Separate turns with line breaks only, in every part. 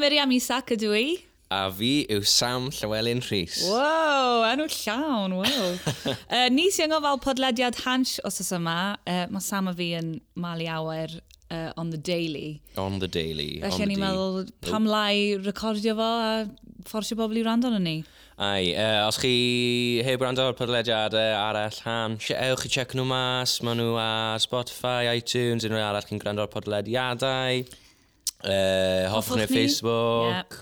Miriam Isaac ydw i.
A fi yw Sam Llywelyn Rhys.
Wow, enw llawn, wow. uh, ni sy'n gofal podlediad hans os oes yma. Uh, mae Sam a fi yn malu awer uh, on the daily.
On the daily.
Felly
on the
ni'n meddwl pam lai recordio fo a fforsio bobl i rando yn ni.
Ai, uh, os chi heb rando ar podlediadau arall han, sh- ewch i check nhw mas, maen nhw ar Spotify, iTunes, unrhyw arall chi'n gwrando ar podlediadau. Uh, hoffwch
Hoffwch
ni
ni.
Facebook,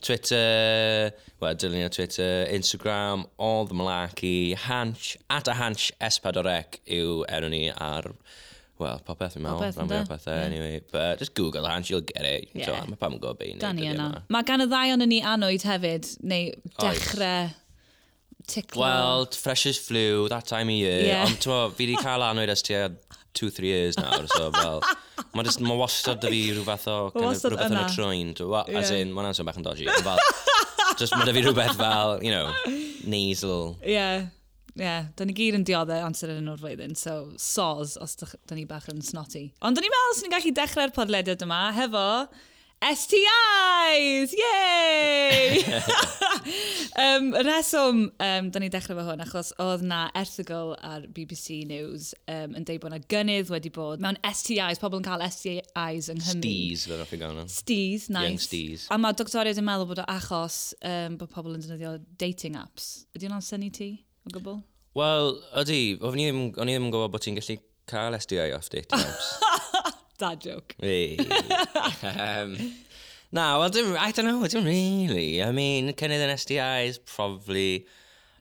Twitter, well, dylwn ni ar Twitter, Instagram, all the malarkey, Hanch, at a Hanch S4C yw enw ni ar, well, popeth yn meddwl,
Popeth,
rhan fwyaf
ynde?
pethau, anyway. But just Google Hanch, you'll get it.
Yeah.
Yeah. So, mae pam yn gwybod beth i wneud
Da ni
dyddiau
yna.
yma.
Mae gan y ddau o'n ni anwyd hefyd, neu dechrau ticlo.
Well, fresh as flu, that time of year.
Ie.
Yeah. Ond ti'n fi wedi cael anwyd ers tua 2-3 years nawr, so fel... Mae just, ma wastad da fi rhywbeth o... kind of-
wastad
Rhywbeth yn y
yna.
trwyn. t'wo, Well, as
Ie.
in, mae'n answer bach yn dodgy. ond Fel, just mae da fi rhywbeth fel, you know, nasal.
Ie, yeah, ie. Yeah. Da ni gyd yn dioddau amser yn o'r flwyddyn, so soz os da, da ni bach yn snotty. Ond da ni'n meddwl sy'n ni'n gallu dechrau'r podlediad yma hefo STIs! Yay! um, y reswm, um, da ni dechrau fo hwn, achos oedd na erthigol ar BBC News um, yn deud bod na gynnydd wedi bod mewn STIs, pobl yn cael STIs yng Nghymru.
Stees, fe rhaid i gael nhw.
Stees, nice.
Young stees.
A mae doctoriad yn meddwl bod o achos um, bod pobl yn defnyddio dating apps. Ydy hwnna'n syni ti o gwbl?
Wel, ydi, o'n i ddim o'n i ddim yn gwybod bod ti'n gallu cael SDI off date apps.
Da joke.
Hey. um, no, well, dim, I don't know, dim really. I mean, cynnydd yn SDI is probably...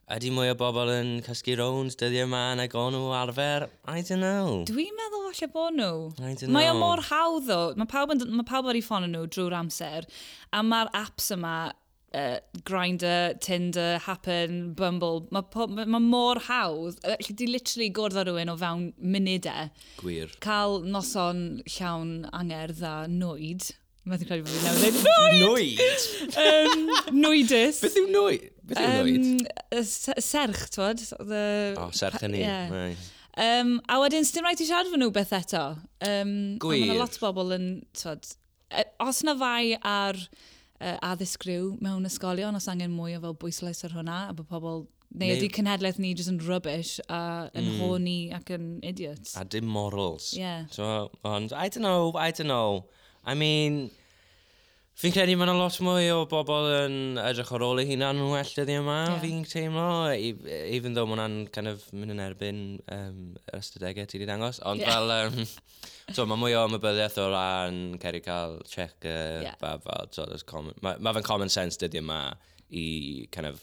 Ydy mwy o bobl yn cysgu rownd dyddiau yma nag o'n nhw arfer? I don't know.
Dwi'n meddwl falle bod nhw.
I dunno.
Mae o mor hawdd o. Mae pawb, yn, mae pawb ar ei ffon nhw drwy'r amser. A mae'r apps yma, uh, Grindr, Tinder, Happen, Bumble, mae po- ma, ma mor hawdd. Yy, Alli di literally gwrdd â rhywun o fewn munudau.
Gwir.
Cael noson llawn angerdd a nwyd. Mae'n credu bod fi'n newid. Nwyd!
Nwyd?
um, nwydus.
Beth yw nwyd? Beth yw nwyd?
Um, y se- serch, twod? The...
O, serch yn ni.
Ie.
Right.
Um, a wedyn, sdim rhaid i siarad fy nhw beth eto. Um, a Ma' 'na
Gwir.
lot o bobl yn, twod, e- os na fai ar uh, addysg ryw mewn ysgolion, os angen mwy o fel bwyslais ar hwnna, a bod pobl... Neu
Neu- Hmm.
ydy cenhedlaeth ni jyst yn rubbish a yn mm. honi ac yn idiots.
A dim morals.
Ie.
So, ond, I don't know, I don't know. I mean, fi'n credu mae'n lot mwy o bobl yn edrych ar ôl eu hunan yn well dyddi yma,
Ie.
yeah. fi'n teimlo, e- even though mae'n kind of mynd yn erbyn um, yr ystadegau ti wedi dangos, ond
Ie.
yeah. fel, um, so mae mwy o ymwybyddiaeth o ran ceri cael check uh,
Ie.
yeah. ba fel, so, there's common, mae ma fe'n common sense dyddi yma i kind of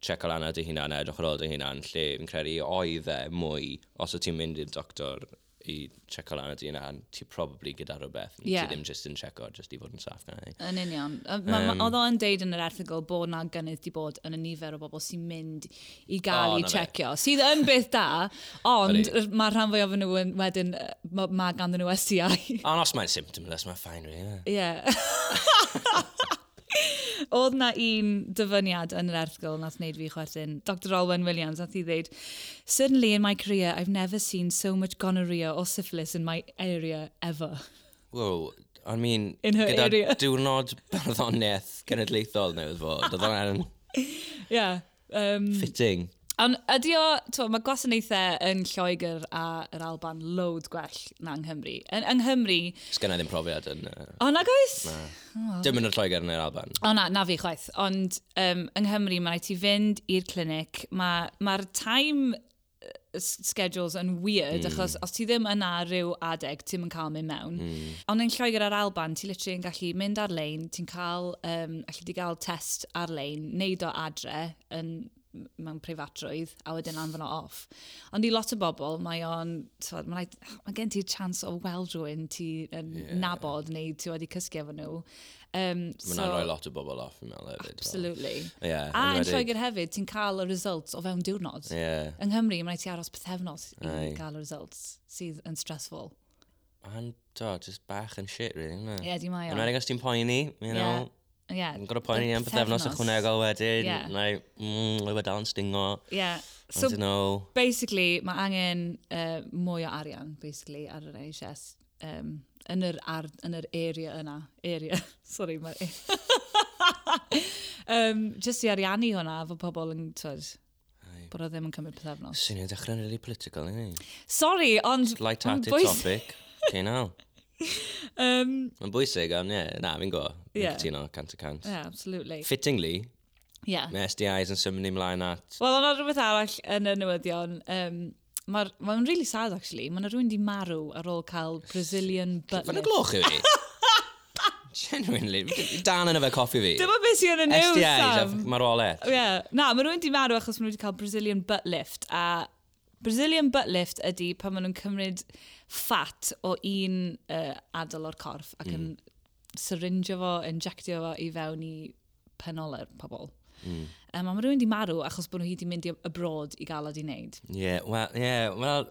check o lan ar dy hunan, edrych ar ôl dy hunan, lle fi'n credu oedd e mwy, os o ti'n mynd i'r doctor i check o lan ar dy hunan, ti probably gyda rhywbeth,
Ie.
ti ddim just yn check o, just i fod yn saff gan ei.
Yn union. Yym, ma- ma- Oedd o'n deud yn yr erthigol bod na gynnydd di bod yn y nifer o bobl sy'n mynd i gael
O,
i
na fe.
checio. Sydd yn beth da, ond
Ydi.
mae rhan fwy o fy nhw yn wedyn, yy, ma- ma gan nhw STI.
Ond os mae'n symptomless, mae'n ffain rili. ie.
Ie. Oedd na un dyfyniad yn yr erthgol nath wneud fi chwerthin. Dr Olwen Williams nath i ddeud, Suddenly in my career I've never seen so much gonorrhea or syphilis in my area ever.
Wow, I mean,
In her
gyda
area.
diwrnod barddoniaeth genedlaethol newydd fod, oedd hwnna'n
Yeah. Um,
fitting.
Ond ydy o, t'wo, mae gwasanaethau yn Lloegr a yr Alban load gwell na yng Nghymru. Yn, yng Nghymru,
Sgynna ddim profiad yn... Uh,
o na goes?
dim yn y Lloegr neu'r Alban.
O na, na fi chwaith. Ond um, yng Nghymru, mae rhaid ti fynd i'r clinic. Mae'r ma mae'r time uh, s- schedules yn weird, mm. achos os ti ddim yna rhyw adeg, ti'n yn cael mynd mewn. Mm. Ond yn Lloegr ar Alban, ti literally yn gallu mynd ar-lein, ti'n cael, um, allu di gael test ar-lein, neud o adre yn mewn preifatrwydd a wedyn anfon o off. Ond i lot o bobl, mae o'n, t'mod, mae rhaid- mae gen ti'r chance o weld rhywun ti yn yeah. nabod neu ti wedi cysgu efo nhw. Um,
Mae'n so, rhoi lot o bobl off, fi'n meddwl hefyd.
Absolutely.
Ie,
a yn
enwedig.
Lloegr hefyd, ti'n cael y results o fewn diwrnod.
Ie. Yeah.
Yng Nghymru, mae'n rhaid ti aros pethefnos i
Aye.
gael y results sydd yn stressful.
And, do, just bach yn shit, really, yna.
Ie, di mae o.
Yn wedi os ti'n poeni, you know,
Ie.
yn gorau poeni am pethefnos ychwanegol wedyn,
Ie.
like, mm, oedd dal yn stingo,
Ie.
I
So,
don't know.
basically, mae angen uh, mwy o arian, basically, ar yr NHS. Um, yn yr, ar, yn yr area yna. Area. Sorry, mae'r... um, just i ariannu hwnna, fod pobl yn, twyd, bod o ddim yn cymryd pethefnos.
Sy'n ni'n dechrau'n really political, ni.
Sorry, ond...
Light-hearted
bwys-
topic. Okay, now.
Um,
Mae'n bwysig, ond ie, na, fi'n go.
Ie.
Yeah. Cytuno, cant y cant.
yeah, absolutely.
Fittingly,
Yeah.
mae SDIs yn symud ni mlaen at...
Wel, ond rhywbeth arall yn y newyddion, um, mae'n ma really sad, actually. Mae'n rhywun di marw ar ôl cael Brazilian butt
Fan y
lift.
gloch i fi. Genuinely. Dan yn y fe coffi fi.
Dyma beth sy'n yn y news,
SDIs,
Sam.
mae'r ole.
Yeah. Na, mae rhywun di marw achos maen nhw wedi cael Brazilian butt lift, a Brazilian butt lift ydy pan maen nhw'n cymryd ffat o un uh, adol o'r corff ac yn syringio fo, injectio fo i fewn i penoler pobl. Mm. Um, a mae rhywun di marw achos bod nhw hyd i mynd i abroad i gael o di wneud.
Ie, wel, ie, wel,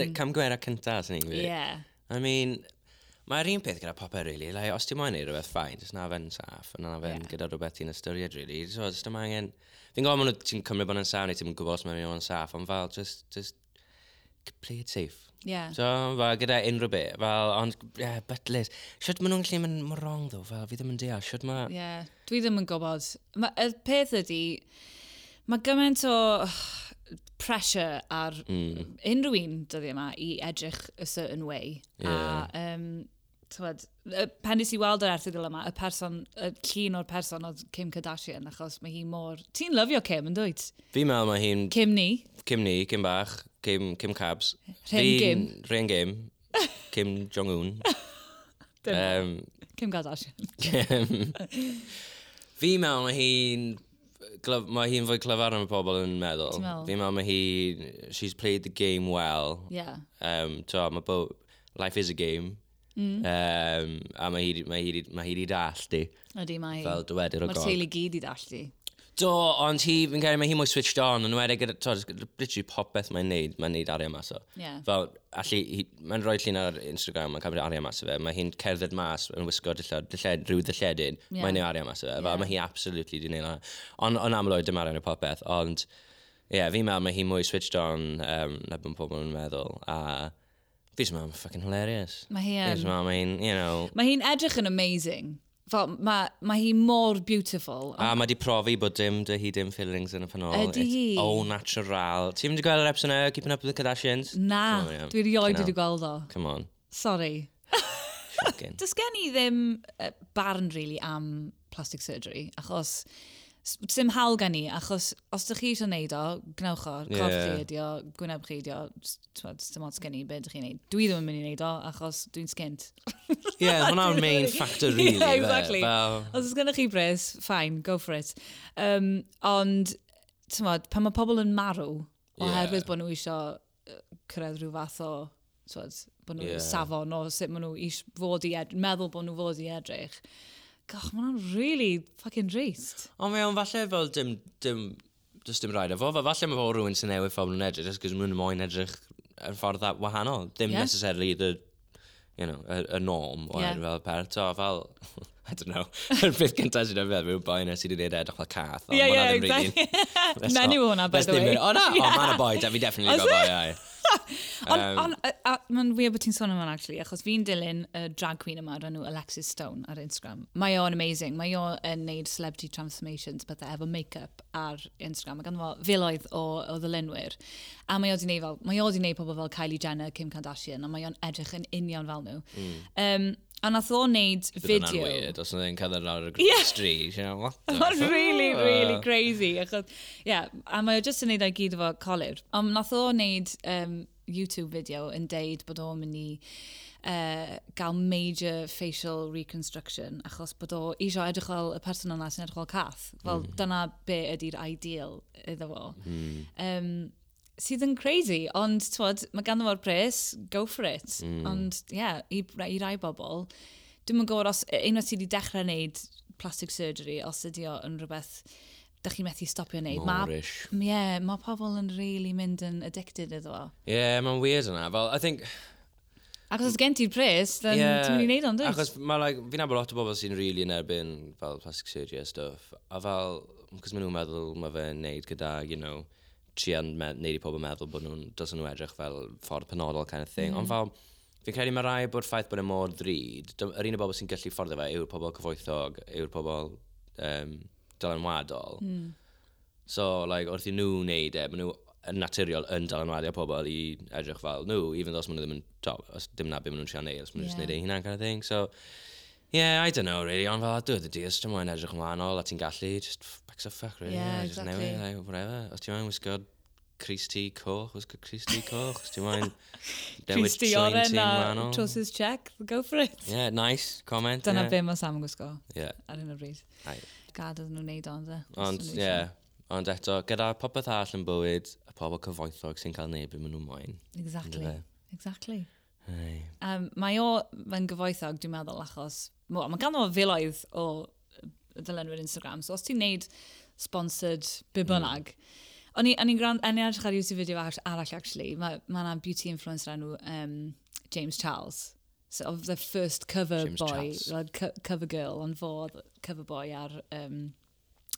y camgwera cynta, sy'n ni'n
Mm. Ie.
gwybod.
Yeah.
I mean, mae'r un peth gyda popeth, really. Like, os ti'n moyn neud rhywbeth ffain, jyst na fe'n saff, a na fe'n
Ie.
yeah. gyda rhywbeth ti'n ystyried, really. So, jyst yma angen... Fi'n gwybod maen nhw ti'n cymryd bod yn saff, neu ti'n gwybod os mae'n mynd o'n saff, ond fel, just, just play it safe.
Yeah.
So, fel, gyda unrhyw beth, fel, ond, yeah, but Liz, siwt maen nhw'n gallu mynd mor wrong, ddo, fel, fi ddim yn deall, siwt ma...
Ie, yeah, dwi ddim yn gwybod. Ma, y peth ydy, mae gymaint o ugh, pressure ar mm. unrhyw un dyddi yma i edrych a certain way.
Ie.
A, um, tywed, y- pan nes i weld yr erthigol yma, y person, y llun o'r person oedd Kim Kardashian, achos mae hi mor... Ti'n lyfio Kim, yn dwyt?
Fi'n meddwl mae hi'n
Kim ni?
Kim ni, Kim bach, Kim, Kim Cabs.
Rhen Gim.
Rhen Gim. Kim Jong-un.
Dim,
um,
Kim Kardashian.
Yym, Fi mewn mae hi'n glyf- mae hi'n fwy clyfar am y pobl yn meddwl.
Ti'n meddwl?
Fi mewn mae hi, she's played the game well.
Yeah.
Um, to, mae bo, life is a game. Mm. Um, a mae hi, 'di- mae hi, 'di- mae hi di dall di,
Ydy, mae hi.
fel dyweder o
Mae'r
gog.
teulu gyd i dallu.
Do, ond hi, fi'n cael, mae hi mwy switched on, yn wedi gyda, to, literally popeth mae'n neud, mae'n neud arian mas o.
Ie.
Fel, allu, hi- mae'n rhoi llun ar Instagram, mae'n cymryd arian mas o fe, mae hi'n cerdded mas, yn wisgo dillad, dillad, rhyw dilledyn,
Ie.
mae'n neud arian mas o fe, fel,
Ie.
mae hi absolutely di neud hwnna. Ond, ond amlwg, dim arian o popeth, ond, ie, yeah, fi'n meddwl, mae hi mwy switched on, um, na byn pobl yn meddwl, a, fi'n meddwl, mae'n fucking hilarious.
Mae hi yn.
Fi'n meddwl, mae'n, you know,
Mae hi'n edrych yn amazing. Fel, mae, mae hi mor beautiful.
A mae di profi bod dim dy hi dim feelings yn y penol.
Ydi hi?
It's all natural. Ti'n mynd i gweld yr episode yna, Keeping Up with the Kardashians?
Na,
Oh, yeah.
dwi rioed
Fucking
wedi gweld o.
hell. Come on.
Sorry.
Fucking.
Does gen i ddim uh, barn, really, am plastic surgery, achos s- sim hawl gen i, achos os ydych chi eisiau gwneud o, gnewch o, corff
Ie.
chi ydi o, gwyneb chi ydi o, s- t'mod, dim ots gen i beth ydych chi'n neud. Dwi ddim yn mynd i wneud o, achos dwi'n sgint.
Ie, yeah, hwnna'n main factor really.
yeah,
fe,
exactly.
fel-
Os oes gennych chi bres, fine, go for it. Um, ond, ti'n modd, pan mae pobl yn marw, oherwydd
Ie.
bod nhw eisiau cyrraedd rhyw fath o, ti'n modd, bod nhw'n
Ie.
safon o sut maen nhw eisiau fod i edrych, meddwl bod nhw fod i edrych. Goch, mae hwnna'n really fucking drist.
Ond mae o'n falle fel dim, dim, just dim rhaid efo. fe. Falle mae fod rhywun sy'n newid ffordd yn edrych, just gos mwyn moyn edrych yn ffordd dda wahanol. Dim
Ie.
yeah. necessarily the, you know, y, y norm o
Ie.
yeah. fel per. To, fel, I don't know. Yr peth gyntaf sy'n efo, rhyw boi nes i wedi neud edrych fel cath. ond
Ie,
ma' hwnna
ie,
ddim really-
exactly.
Let's
Menyw
not-
hwnna, by
let's
the
dim
way.
mynd- O na, o
Yeah.
man a boi, da fi definitely got boi, ai.
Ond on, mae'n wir bod ti'n sôn am hwnna, actually, achos fi'n dilyn y drag queen yma o'r enw Alexis Stone ar Instagram. Mae o'n amazing. Mae o yn neud celebrity transformations, bethau efo make-up ar Instagram. Mae ganddo fo filoedd o, o ddilynwyr. A mae o di neud, fel, mae o di neud pobl fel Kylie Jenner, Kim Kardashian, a mae o'n edrych yn union fel nhw. Mm. Um, a nath o neud
Fydd
video...
hwnna'n weird, os yna'n cael ar y
Ie.
gr- street, you know, what the
Mae'n
fuck?
really, really
Uh,
crazy. Achos, yeah, a mae o just yn neud o'i gyd efo colur. Ond nath o wneud um, YouTube video yn deud bod o'n mynd i uh, gael major facial reconstruction achos bod o isio edrych fel y person yna sy'n edrych fel cath. Fel dyna be ydy'r ideal iddo fo. Um, sydd yn crazy, ond twod, mae ganddo fo'r pres, go for it.
Mm.
Ond, ie, yeah, i, i rai bobl, dwi'n yn gwybod os unwaith ti wedi dechrau wneud plastic surgery, os ydi o yn rhywbeth da chi methu stopio wneud.
Morish.
Ie, yeah, mae pobl yn really mynd yn addicted iddo fo.
Ie, mae'n weird yna. Fel, I think,
Ac os gen ti'r pres, then
Mm. Ie,
ti'n mynd i wneud o'n dweud.
Achos mae, like, fi'n nabod lot o bobl sy'n rili really yn erbyn fel plastic surgery a stuff. A fel, cos maen nhw'n meddwl mae fe'n neud gyda, you know, trian me- neud i pobl meddwl bod nhw'n, dos nhw edrych fel ffordd penodol kind of thing. Mm. Ond fel, Fi'n credu mae rai bod ffaith bod e mor ddrud, dy- yr un o bobl sy'n gallu fforddio fe yw'r pobl cyfoethog, yw'r pobl um, dylanwadol. Mm. So, like, wrth i nhw wneud e, maen nhw yn naturiol yn dylanwadio pobl i edrych fel nhw, even though os maen nhw ddim yn top, os dim na beth maen nhw'n siarad neud, os maen nhw'n just
Ie.
neud ei hunan kind of thing. So, yeah, I don't know, really, ond fel, dwi'n dwi, os ti'n mwyn edrych ymlaenol, a ti'n gallu, just f- backs the fuck, really,
Yeah,
just
exactly.
newid, like, whatever. Os ti'n mwyn wisgo Chris T. Coch, wisgo Chris T. Coch, os ti'n mwyn newid
Chris di
train
oren
ti'n
a
wahanol.
trowsus check, go for it.
Yeah, nice comment.
Dyna
yeah.
be mae Sam yn gwisgo
Yeah.
ar hyn o bryd.
Aye.
Gad oedden nhw'n neud ond e.
Ond, ie. Yeah. Ond eto, gyda popeth all yn bywyd, y pobl cyfoethog sy'n cael neb yn maen nhw moyn.
Exactly.
Yndyfe?
Exactly.
Ei.
Um, mae o fe'n gyfoethog, dwi'n meddwl, achos... Mo- Mae ganddo fo filoedd o y dylanwyr Instagram, so os ti'n neud sponsored be
Hmm.
bynnag, O'n i- o'n i'n gwrando, yn edrych ar YouTube fideo ar- arall, actually, mae ma na beauty influencer enw um, James Charles, so of the first cover
James
boy,
Charles.
like, co cover girl, ond fo oedd cover boy ar um,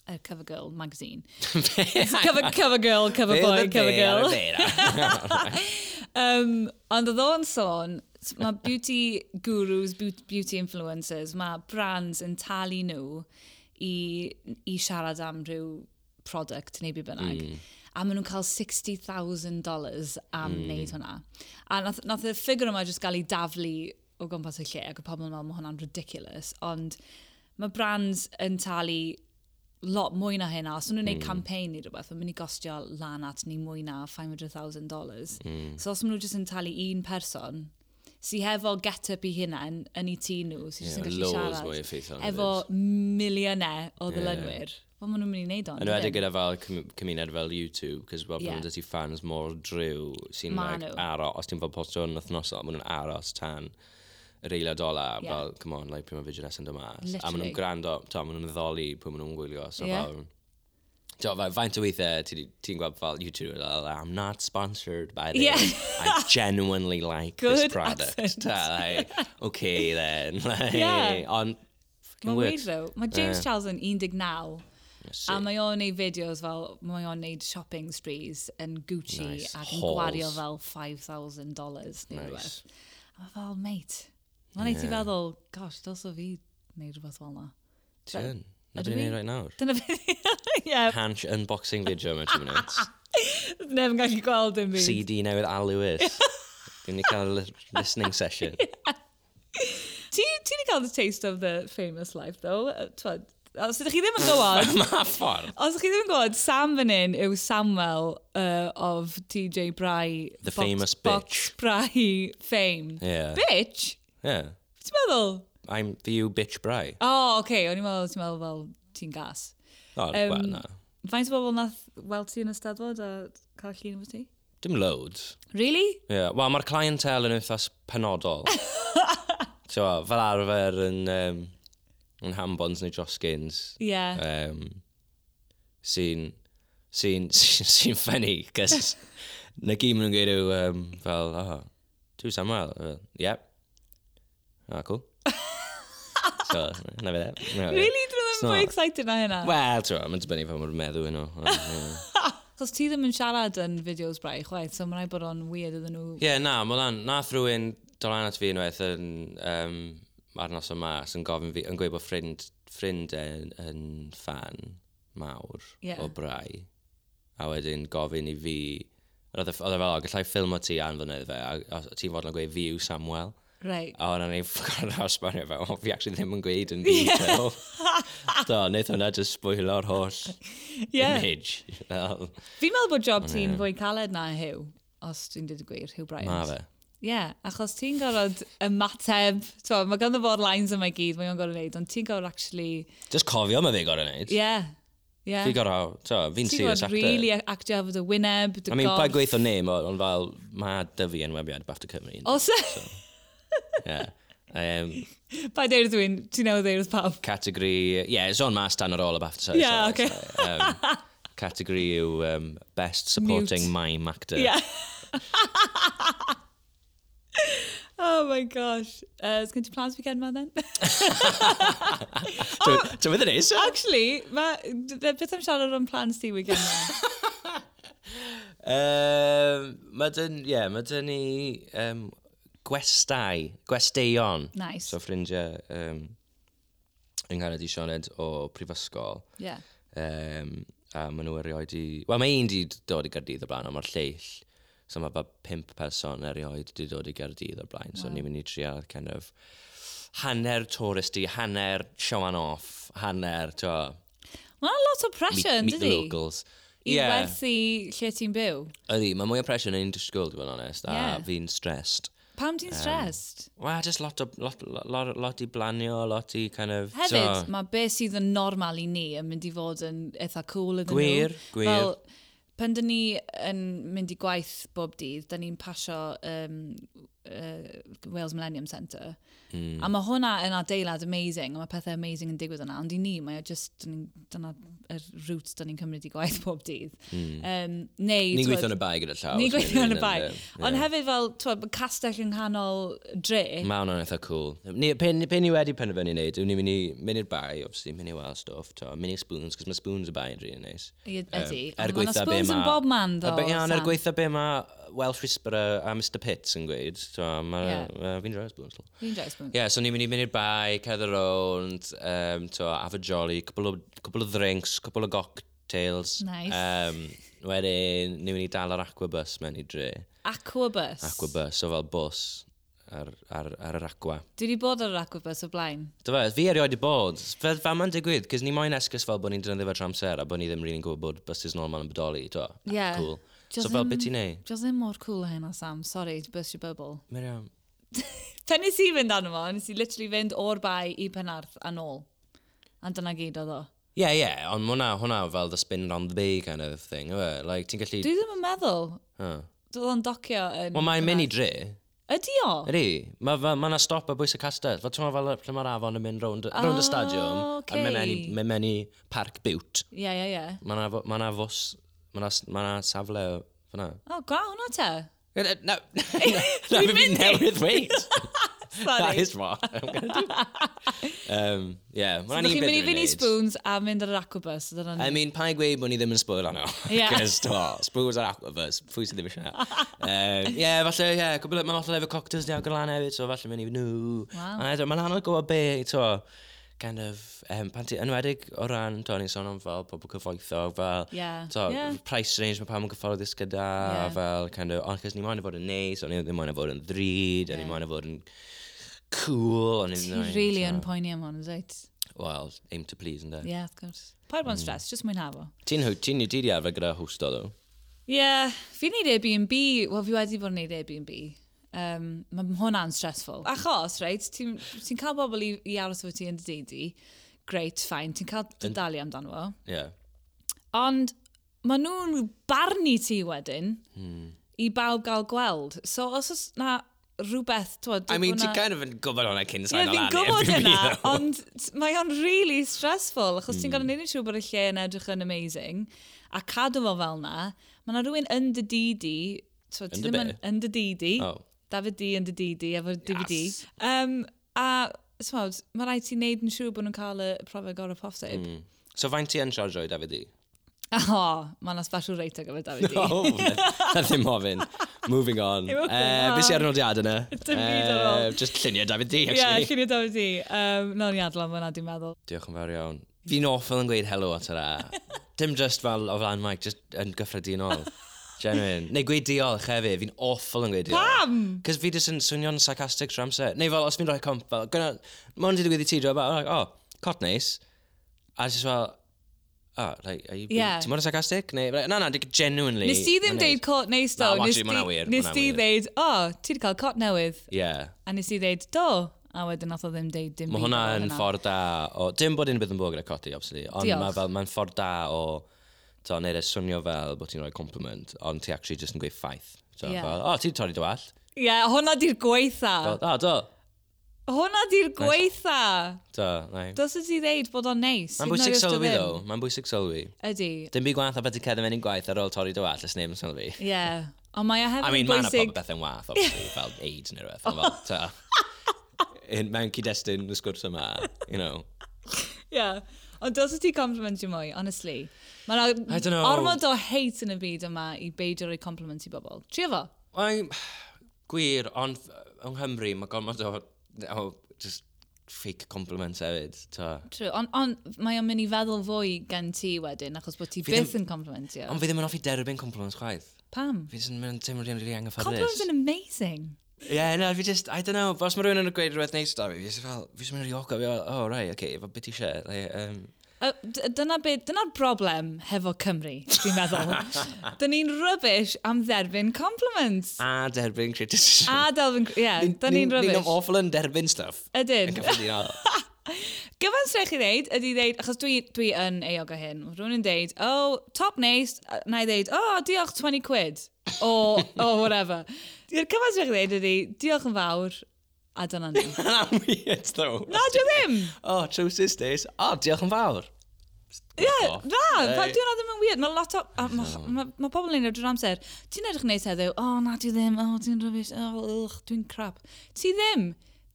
uh, cover girl magazine. cover, cover girl, cover boy, cover girl. Um, ond oedd o'n sôn, s- mae beauty gurus, beau- beauty influencers, mae brands yn talu nhw i, i siarad am rhyw product neu be bynnag. Mm. A maen nhw'n cael $60,000 am mm. wneud hwnna. A nath, nath y ffigur yma jyst gael ei daflu o gwmpas y lle, ac y pobl yn meddwl mae hwnna'n ridiculous, ond mae brands yn talu lot mwy na hynna. Os nhw'n
Hmm.
gwneud mm. campaign i rhywbeth, mae'n mynd i gostio lan at ni mwy na $500,000.
Hmm.
Mm. So os maen nhw jyst yn talu un person, sy hefo get-up i hunain yn eu tŷ nhw, sy'n jyst yn gallu
Loads mwy
siarad,
effeithiol. na
efo
fyd.
miliynau o ddylynwyr. Fel maen nhw'n mynd i wneud o'n.
Yn wedi gyda fel cym- cymuned fel YouTube, cos fel
Ie.
pan dyti fans mor driw sy'n
Ma'
like,
nhw.
aros, os ti'n fel postio yn wythnosol, maen nhw'n aros tan yr eiliad ola,
Ie.
fel, come on, like, pryd mae fideo nes yn dod mas. A maen
Literally.
nhw'n gwrando, to, maen nhw'n ddoli pwy maen nhw'n gwylio, so
Ie.
fel... So, fel, faint o weithiau ti 'di- ti'n gweld fel YouTube, fel, I'm not sponsored by this,
Ie.
I genuinely like
Good
this product.
accent.
Ta, like, okay then. Like,
Ie.
On, fucking
Mae'n weird
works.
though. Mae James
Ie.
Charles yn 19
That's
a
it.
mae o'n neud fideos fel, mae o'n neud shopping sprees yn Gucci
Nice.
ac yn
Hauls.
gwario fel $5,000 neu rhywbeth.
Nice.
A mae fel, mate, mae'n neud ti
Ie.
feddwl, gosh, dos o fi neud rhywbeth fel na.
Ti yn? Na
Ydw
dwi'n
i?
neud right nawr.
Dyna beth, ie,
Hansh unboxing video mewn 2 minutes.
neb yn gallu gweld dim byd.
CD newydd Al Lewis. Dwi'n ni cael l- listening session.
Ti ti wedi cael the taste of the famous life, though. Yy, Twad, os ydych chi ddim yn gwybod,
Ma ffordd.
os ydych chi ddim yn gwybod, Sam fan hyn yw Samuel uh, of TJ Bry.
The famous
Box Bry fame.
Yeah.
Bitch?
Yeah.
Ti'n meddwl?
I'm the you bitch bry.
O, oh, oce, okay. o'n i'n meddwl, ti'n meddwl fel ti'n gas.
Oh,
Yym,
well, na.
Faint o bobl nath weld ti yn ystafod a cael llun efo ti?
Dim loads.
Really?
Yeah. Wel, mae'r clientele yn wythnos penodol. so, fel arfer yn, um, yn Hambons neu Josgins.
Ie. Yeah.
um, sy'n sy'n sy'n ffynnu cos na gyd maen nhw'n gweud yw um, fel oh, tu Samuel fel, yep ah cool so na fe that no,
Really? Dwi'n
It's
ddim mwy
not.
excited na hynna.
Wel, ti'n gwbod, mae'n dibynnu pan mae'n meddwl hwnnw.
Chos ti ddim yn siarad yn fideos brau chwaith, so mae'n rhaid bod o'n weird iddyn nhw.
Ie, na, mae lan, nath rhywun dolan at fi unwaith yn, um, ar nos o mas yn gofyn fi, yn gweud bod ffrind, ffrind e yn, yn fan mawr
Ie.
o brai. A wedyn gofyn i fi, roedd e f- oedd e fel, o, gallai ffilmo ti anfynydd fe, a, a ti'n fod yn gweud fi yw Samuel.
Right.
A hwnna ni'n ffwrdd ar osbarnio fe, o, fi actually ddim yn gweud yn detail. Do, wneud hwnna just sbwylo'r holl
Yeah.
image. Fel,
Fi'n meddwl bod job ti'n fwy caled na Hugh, os dwi'n dweud y gwir, Hugh Bryant.
Ma fe.
Ie, yeah, achos ti'n gorfod ymateb, t'wo, mae ganddo fo'r lines yma i gyd, mae o'n gorfod neud, ond ti'n gorfod actually,
Just cofio mae fe gorau wneud.
ie, yeah, ie.
Fi gorau, to, fi'n
Ti'n
serious
gorfod
actor.
really actio efo dy wyneb, dy
I mean,
gorff.
pa gweithio name, o- ond fel, mae dy fi enwebiad Bafta Cymru. Oh.
Os,
Yeah. Um,
pa deir dwi'n, ti'n newid deir wrth pawb.
category, yeah, it's on mas dan ar ôl y Bafta.
Yeah, okay.
Um, category yw um, Best Supporting
Mute.
Mime Actor.
Yeah. oh my gosh. Uh, Sgyn ti plans fi gen ma then? Oh.
Ti'n fydd yn neis?
Actually, mae beth am siarad o'n plans ti weekend ma.
Mae dyn, yeah, mae dyn ni um, gwestai, gwesteion.
Nice.
So ffrindiau um, yng Nghaned i Sioned o prifysgol.
Yeah.
Um, a maen nhw erioed i... Wel, mae un di dod i Gardydd o blaen, ond mae'r lleill. So mae bod pimp person erioed di dod i Gardydd o blaen. Wow. So ni'n mynd i trial kind of hanner touristi, hanner show and off, hanner, to,
Mae'n lot o pressure,
meet, meet the
ynddi?
locals.
I werthu lle ti'n byw.
Ydi, mae mwy o pressure yn ein disgwyl, dwi'n honest, a yeah.
Ie.
fi'n stressed.
Pam
Um,
ti'n stressed?
Wel, just lot o, lot, lot, lot i blanio, lot i kind of...
Hefyd,
so,
mae beth sydd yn normal i ni yn mynd i fod yn eitha cool iddyn
Gwir,
nhw.
gwir.
Fel, pan dyn ni yn mynd i gwaith bob dydd, dyn ni'n pasio um, uh, Wales Millennium Centre.
Hmm.
Mm. A mae hwnna yn adeilad amazing, a mae pethau amazing yn digwydd yna, ond i ni, mae o just, dyn ni- dyna y route dyn ni'n cymryd i gwaith bob dydd. Mm. Um, neu,
Hmm.
t'wod,
Ni'n gweithio yn y bai gyda llaw.
Ni
os
gweithio yn y
mynd
bai.
Ie.
Ond hefyd fel, twyd, ma' castell yng nghanol dre.
Mae hwnna'n eitha cool. Ni, pen, pen ni wedi penderfynu wneud, ni'n mynd i mynd i'r bai, obviously, mynd i weld stuff, to, mynd i spoons, cos mae spoons y bai yn rili neis.
I- Ydy.
Yym, Er
Ond ma' 'na
gweitha be
spoons yn
ma-
bob man, ddo,
Yy, be- ie, ond Er
Sam.
gweitha be mae Welsh Whisperer a Mr Pitt yn gweud, to,
Ie.
mae fi'n rhaid spoons. lol.
Fi'n joes bwnt.
Ie, yeah, so ni'n mynd i mynd i'r bai, cedd around, um, to, have a jolly, cwbl o, cwbl o drinks, cwbl o cocktails.
Nice.
Um, wedyn, ni'n mynd i dal ar aquabus mewn i dre.
Aquabus.
Aquabus, so fel bus ar, ar, ar yr aqua.
Dwi wedi bod ar yr aquabus o blaen.
Dyfa, e, fi erioed i bod. Fe fa ma'n digwydd, cys ni moyn esgus fel bod ni'n defnyddio fe tramser a bod ni ddim rili'n gwybod bod buses normal yn bodoli. Do,
Ie.
cool.
Just
so fel
yn-
beth ti'n ei?
Dwi ddim mor cool a hynna, Sam. Sorry, to burst your bubble.
Mae'n iawn.
Pen nes i fynd arno fo, nes i literally fynd o'r bai i Penarth a nôl. A dyna gyd oedd o.
Ie, ie, ond ma' hwnna, hwnna fel the spin round the bay kind of thing. Yw, e? like, ti'n gallu...
Dwi ddim yn meddwl.
Huh.
Dwi'n o'n docio yn...
Wel, mae'n mynd i dre.
Ydi o?
Ydy, mae ma, ma na stop a bwys y castell. Fel ti'n meddwl fel lle mae'r afon yn mynd rownd, rownd y stadiwm.
ocê.
A mae'n mynd i parc biwt.
Ie, ie, ie.
Mae na, fo- ma na fws, mae na, s- ma na safle fyna.
O, gwa hwnna te.
Na, na, na, na,
Dwi'n mynd i-
newydd weid. That
Sorry.
is what I'm going to do. um, yeah,
Dwi'n
mae'n
mynd
ni'n
i fynd i
byd yn
spoons a mynd ar yr aquabus. Dyna ni.
I mean, pa'n gweud bod ni ddim yn spoil hwnnw.
Mm. Ie.
Cys, to, spoils ar aquafers, pwy sydd ddim eisiau. Um, Ie, falle, ie, cwbl- mae'n falle efo cocktails ni agor lan hefyd, so falle mynd i nhw.
Wow.
A edrych, Mae'n anodd gwybod be, to, kind of, um, pan ti, enwedig o ran, to, ni'n sôn am fel pobl cyfoethog, fel,
Ie.
to,
Ie.
price range mae pam yn cyfforddus gyda,
Ie.
a fel, kind of, ond cys ni moyn i fod yn neis, ond ni ddim moyn i fod yn ddrud, a ni
Ie.
moyn i fod yn cool, ond ni
Ti
ddim moyn,
really
to-
yn poeni am hwn, right?
Well, aim to please, ynddo.
Yeah, of course. Paid bod yn stress, just mwynhau fo.
Ti'n hw- ti'n ti di arfer gyda hwsto, ddo?
Yeah, fi'n neud Airbnb, wel fi wedi bod yn neud Airbnb. Um, Mae hwnna'n stressful. Achos, reit, ti'n ti cael bobl i, i aros efo ti yn dy deulu. Great, fine. Ti'n cael dy dalu amdano fo.
Ie. Yeah.
Ond maen nhw'n barnu ti wedyn hmm. i bawb gael gweld. So os oes na rhywbeth... Twod,
I mean, ti'n kind of yn gwybod hwnna cyn
Ie,
sain
fi'n gwybod yna, ond mae o'n really stressful, achos
Mm.
ti'n gorfod neud yn siŵr bod y lle yn edrych yn amazing, a cadw fo fel na, mae yna rhywun yn dy didi, so ti
Yn dy
ddim yn,
be?
yn dy didi,
Oh.
David D yn dy didi, efo DVD,
Yes.
um, a Swod, mae rhaid ti wneud yn siŵr bod nhw'n cael y profiad gorau posib. Mm.
So faint ti yn siarad o'i David i?
O, mae yna special rate ar gyfer David D.
O, Oh, na ddim ofyn. Moving on.
Moving
Uh, Bys i ar nodiad yna?
Ah.
Eh,
Dim byd ar ôl.
Just lluniau David i,
Ie,
actually.
llunio David D. Um, Nog ni adlan fyna, dwi'n meddwl.
Diolch yn fawr iawn. Fi'n awful yn gweud helo at yna. Dim just fel o flan Mike, just yn gyffredinol. Genuine. Neu gweud diolch hefyd, fi'n awful yn gweud diolch.
Pam!
Cos fi jyst yn swnio'n sarcastic trwy amser. Neu fel, os fi'n rhoi comp, fel, gyna, mae'n di digwydd i ti, dwi'n fel, like, oh, cot neis. A jyst fel, oh, like, are you,
Yeah.
yeah. ti'n mwyn sarcastic? Neu, like, na, na, di- genuinely.
Nes ti ddim
ma'n
deud cot neis do.
Na, well,
nes
actually, ma' hwnna'n
ti-
weird, ma'
Nes
hwnna'n
ti
weird.
ddeud, o, ti wedi cael cot newydd.
Yeah.
A nes i ddeud, do. A wedyn nath o ddim deud dim
Mae
byd
hwnna
ar
yn ffordd da o... Dim bod unrhyw beth yn bod gyda coti, obviously. Ond
Diolch.
mae fel, mae'n ffordd da o... To, neud e swnio fel bod ti'n rhoi compliment, ond ti actually just yn gweud ffaith. So,
Yeah.
yeah. fel, o, oh, ti'n torri dy wallt.
Ie, yeah, hwnna di'r
O,
gweitha.
oh, do,
Hwnna di'r gweitha.
do, nai.
Dos y ti ddeud bod o'n neis. hyd yn
Mae'n
oed
bwysig
os dio
sylwi,
ddim.
ddo. Mae'n bwysig sylwi.
Ydi.
Dim byd gwaith a byddu cedd yn gwaith ar ôl torri dy wall, ys neb yn sylwi.
Ie. Ond mae o
I mean,
hefyd yn
mae'n
bwysig.
pobl beth yn wath, obviously, fel AIDS neu rhywbeth. ond fel, ta. In- Mewn cyd-destun y sgwrs yma, you know.
Ie. Ond dos y ti complimentio mwy, honestly.
I
Mae'n
dunno.
ormod o hate yn y byd yma i beidio rhoi compliment i bobl. Trio fo.
Mae'n gwir, ond yng Nghymru, mae gormod o, o just fake compliments hefyd. Ta.
True, ond on, mae o'n mynd i feddwl fwy gen ti wedyn, achos bod ti
Fi ddim-
byth yn complimentio.
Ond fi ddim yn offi derbyn compliments chwaith.
Pam?
Fi ddim yn teimlo rhywun rili anghyfforddus.
Compliments yn amazing.
Ie, yeah, na, fi just, I don't know, os mae rhywun yn gweud rhywbeth neis da fi, fi just fel, fi just mynd i ogo, fi fel, oh, right, okay, fel beth i eisiau, like, um,
Y- d- Dyna be, dyna'r broblem hefo Cymru, dwi'n meddwl. Dyn ni'n rubbish am dderbyn compliments.
a derbyn criticism.
A delfyn, ie, yeah, dyn ni'n
Ni'n
rubbish.
awful yn derbyn stuff.
Ydyn.
Yn gyffredinol.
Gyfan srech i ddeud ydy ddeud, achos dwi, dwi yn eog o hyn, rwy'n yn deud, oh, top neis, a- na i ddeud, oh, diolch 20 quid, o, o, whatever. Di'r cyfan srech i ddeud ydy, diolch yn fawr, a dyna ni.
Mae'n weird, though.
Na, dwi ddim!
Oh, trowsus days. Oh, diolch yn fawr.
Ie,
Off.
na, pa-
Hey.
dwi hwnna ddim yn weird. Mae lot o... a ma- ma- Mae pobl yn ei wneud drwy'r amser. Ti'n edrych neis heddiw, o na dwi ddim, o ti'n rubbish, o ych, dwi'n crap. Ti ddim,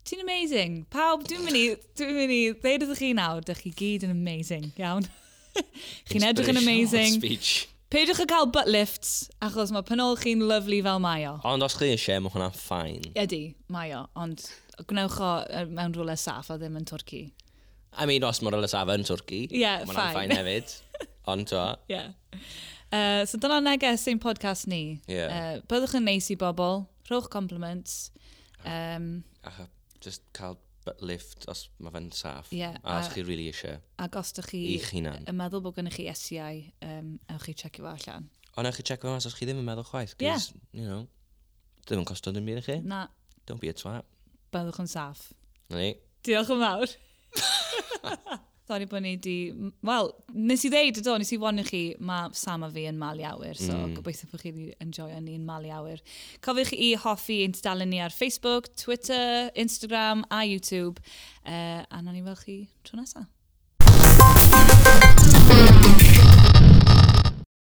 ti'n amazing. Pawb, dwi'n mynd i, dwi'n mynd i, ddeud ydych chi nawr, dych chi gyd yn amazing, iawn. Chi'n edrych yn amazing.
Speech.
Peidiwch â cael butt lifts, achos mae penol chi'n lyflu fel mae o.
Ond os chi eisiau, mae hwnna'n ffain.
Ydy, mae o, ond gwnewch o yy, mewn rhywle saff a ddim yn Twrci.
I mean, os mae'r lasaf yn Twrci,
Ie,
ma'
fine.
hwnna'n ffain hefyd. Ond to,
Ie. Yy, so dyna neges ein podcast ni.
Ie.
Yy, byddwch yn neis i bobl, rhowch compliments. Um,
a- just cael butt lift os mae fe'n saff.
Ie,
A os
a-
chi really eisiau.
ac os ydych chi
I'ch hunan.
yn meddwl bod gennych chi SEI, um, ewch chi checio fo allan.
Ond ewch chi check fe'n mas os chi ddim yn meddwl chwaith.
Ie.
'cos, you know, ddim yn costo dim byd i chi.
Na,
Don't be a twat.
byddwch yn saff.
Na ni.
Diolch yn fawr. Sori bod ni di... Wel, nes i ddeud, ydo, nes i warnu chi, mae Sam a fi yn mal iawyr, so mm. gobeithio bod chi wedi enjoyo ni'n mal iawyr. Cofiwch i hoffi ein dalen ni ar Facebook, Twitter, Instagram a YouTube, uh, a na ni fel chi tro nesaf.